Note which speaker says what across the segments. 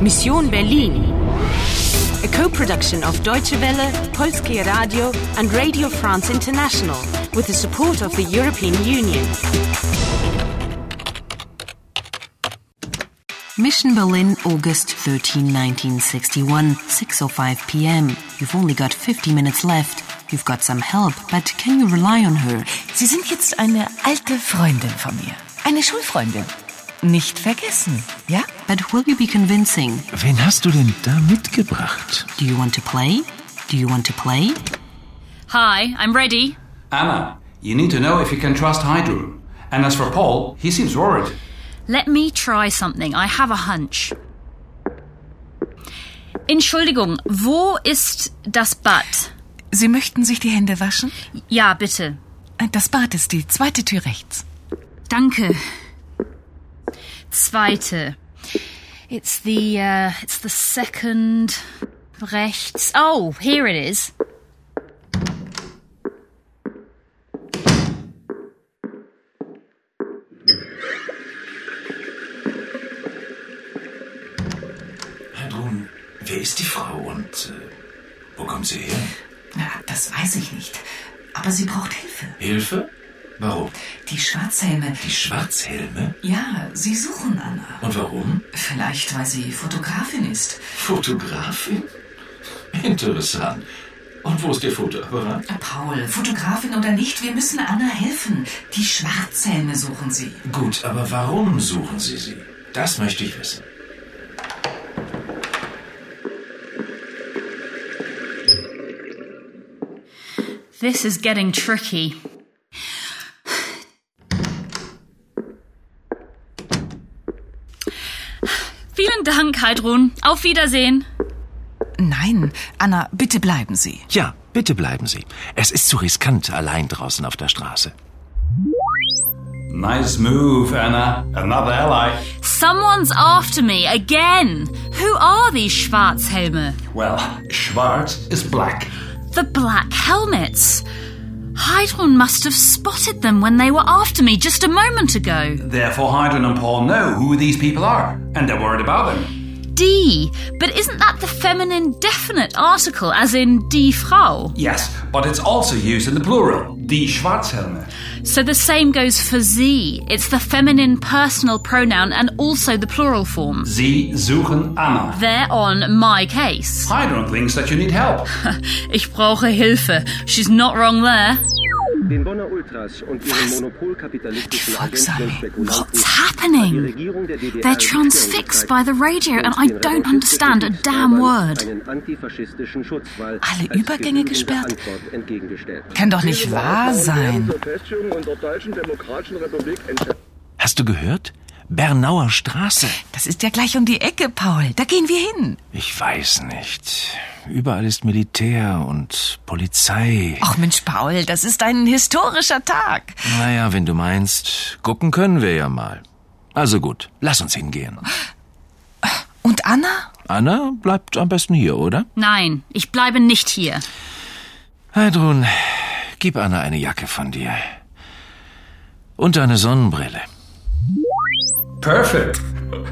Speaker 1: Mission Berlin. A co-production of Deutsche Welle, Polskie Radio and Radio France International with the support of the European Union.
Speaker 2: Mission Berlin, August 13, 1961, 6.05 p.m. You've only got 50 minutes left. You've got some help, but can you rely on her?
Speaker 3: Sie sind jetzt eine alte Freundin von mir. Eine Schulfreundin. Nicht vergessen, ja?
Speaker 2: But will you be convincing?
Speaker 4: Wen hast du denn da mitgebracht?
Speaker 2: Do you want to play? Do you want to play?
Speaker 5: Hi, I'm ready.
Speaker 6: Anna, you need to know if you can trust Hydro. And as for Paul, he seems worried.
Speaker 5: Let me try something. I have a hunch. Entschuldigung, wo ist das Bad?
Speaker 3: Sie möchten sich die Hände waschen? Äh,
Speaker 5: Ja, bitte.
Speaker 3: Das Bad ist die zweite Tür rechts.
Speaker 5: Danke. Zweite. It's the uh, it's the second rechts. Oh, here it is.
Speaker 4: Herr Drun, wer ist die Frau und äh, wo kommt sie her?
Speaker 3: Na, das weiß ich nicht. Aber sie braucht Hilfe.
Speaker 4: Hilfe? Warum?
Speaker 3: Die Schwarzhelme.
Speaker 4: Die Schwarzhelme?
Speaker 3: Ja, sie suchen Anna.
Speaker 4: Und warum?
Speaker 3: Vielleicht, weil sie Fotografin ist.
Speaker 4: Fotografin? Interessant. Und wo ist ihr Fotoapparat?
Speaker 3: Paul, Fotografin oder nicht, wir müssen Anna helfen. Die Schwarzhelme suchen sie.
Speaker 4: Gut, aber warum suchen Sie sie? Das möchte ich wissen.
Speaker 5: This is getting tricky. Vielen Dank, Heidrun. Auf Wiedersehen.
Speaker 3: Nein, Anna, bitte bleiben Sie.
Speaker 4: Ja, bitte bleiben Sie. Es ist zu riskant, allein draußen auf der Straße.
Speaker 6: Nice move, Anna. Another ally.
Speaker 5: Someone's after me again. Who are these Schwarzhelme?
Speaker 6: Well, Schwarz is black.
Speaker 5: The black helmets. Heidrun must have spotted them when they were after me just a moment ago.
Speaker 6: Therefore, Hydron and Paul know who these people are, and they're worried about them.
Speaker 5: D. But isn't that the feminine definite article, as in die Frau?
Speaker 6: Yes, but it's also used in the plural. Die Schwarzhelme.
Speaker 5: So the same goes for sie. It's the feminine personal pronoun and also the plural form.
Speaker 6: Sie suchen Anna.
Speaker 5: They're on my case.
Speaker 6: Hydron thinks that you need help.
Speaker 5: Ich brauche Hilfe. She's not wrong there.
Speaker 7: Den Bonner Ultras und ihren monopolkapitalistischen Agenten und Spekulanten.
Speaker 5: What's happening?
Speaker 7: Regierung der DDR
Speaker 5: They're transfixed by the radio and I don't understand a damn word.
Speaker 7: Einen antifaschistischen Schutzwall
Speaker 3: Alle
Speaker 7: als
Speaker 3: Übergänge
Speaker 7: genügende
Speaker 3: gesperrt?
Speaker 7: Antwort entgegengestellt.
Speaker 3: Kann doch nicht wahr sein.
Speaker 8: Zur Feststellung unserer Deutschen Demokratischen Republik entscheidet.
Speaker 4: Hast du gehört? Bernauer Straße.
Speaker 3: Das ist ja gleich um die Ecke, Paul. Da gehen wir hin.
Speaker 4: Ich weiß nicht. Überall ist Militär und Polizei.
Speaker 3: Ach Mensch, Paul, das ist ein historischer Tag.
Speaker 4: Naja, wenn du meinst, gucken können wir ja mal. Also gut, lass uns hingehen.
Speaker 3: Und Anna?
Speaker 4: Anna bleibt am besten hier, oder?
Speaker 5: Nein, ich bleibe nicht hier.
Speaker 4: Heidrun, gib Anna eine Jacke von dir. Und eine Sonnenbrille.
Speaker 6: Perfect.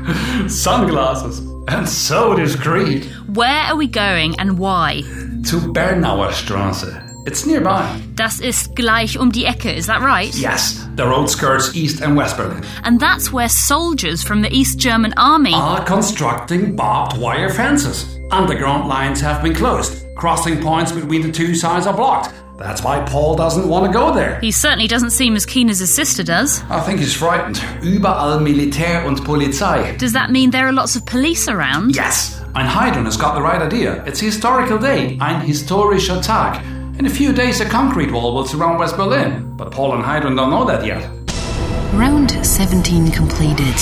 Speaker 6: Sunglasses. And so discreet.
Speaker 5: Where are we going and why?
Speaker 6: To Bernauer Straße. It's nearby.
Speaker 5: Das ist gleich um die Ecke, is that right?
Speaker 6: Yes, the road skirts East and West Berlin.
Speaker 5: And that's where soldiers from the East German Army.
Speaker 6: are constructing barbed wire fences. Underground lines have been closed. Crossing points between the two sides are blocked. That's why Paul doesn't want to go there.
Speaker 5: He certainly doesn't seem as keen as his sister does.
Speaker 6: I think he's frightened. Überall Militär und Polizei.
Speaker 5: Does that mean there are lots of police around?
Speaker 6: Yes, and Heidrun has got the right idea. It's a historical day, ein historischer Tag. In a few days, a concrete wall will surround West Berlin. But Paul and Heidrun don't know that yet.
Speaker 2: Round 17 completed.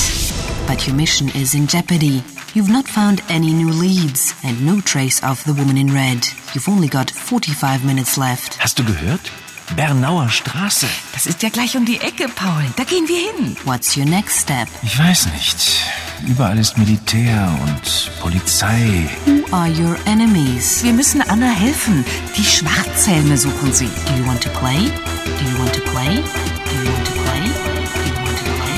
Speaker 2: But your mission is in jeopardy. You've not found any new leads and no trace of the woman in red. You've only got 45 minutes left.
Speaker 4: Hast du gehört? Bernauer Straße.
Speaker 3: Das ist ja gleich um die Ecke, Paul. Da gehen wir hin.
Speaker 2: What's your next step?
Speaker 4: Ich weiß nicht. Überall ist Militär und Polizei.
Speaker 2: Who are your enemies?
Speaker 3: Wir müssen Anna helfen. Die Schwarzhelme suchen sie.
Speaker 2: Do you want to play? Do you want to play? Do you want to play? Do you want to play?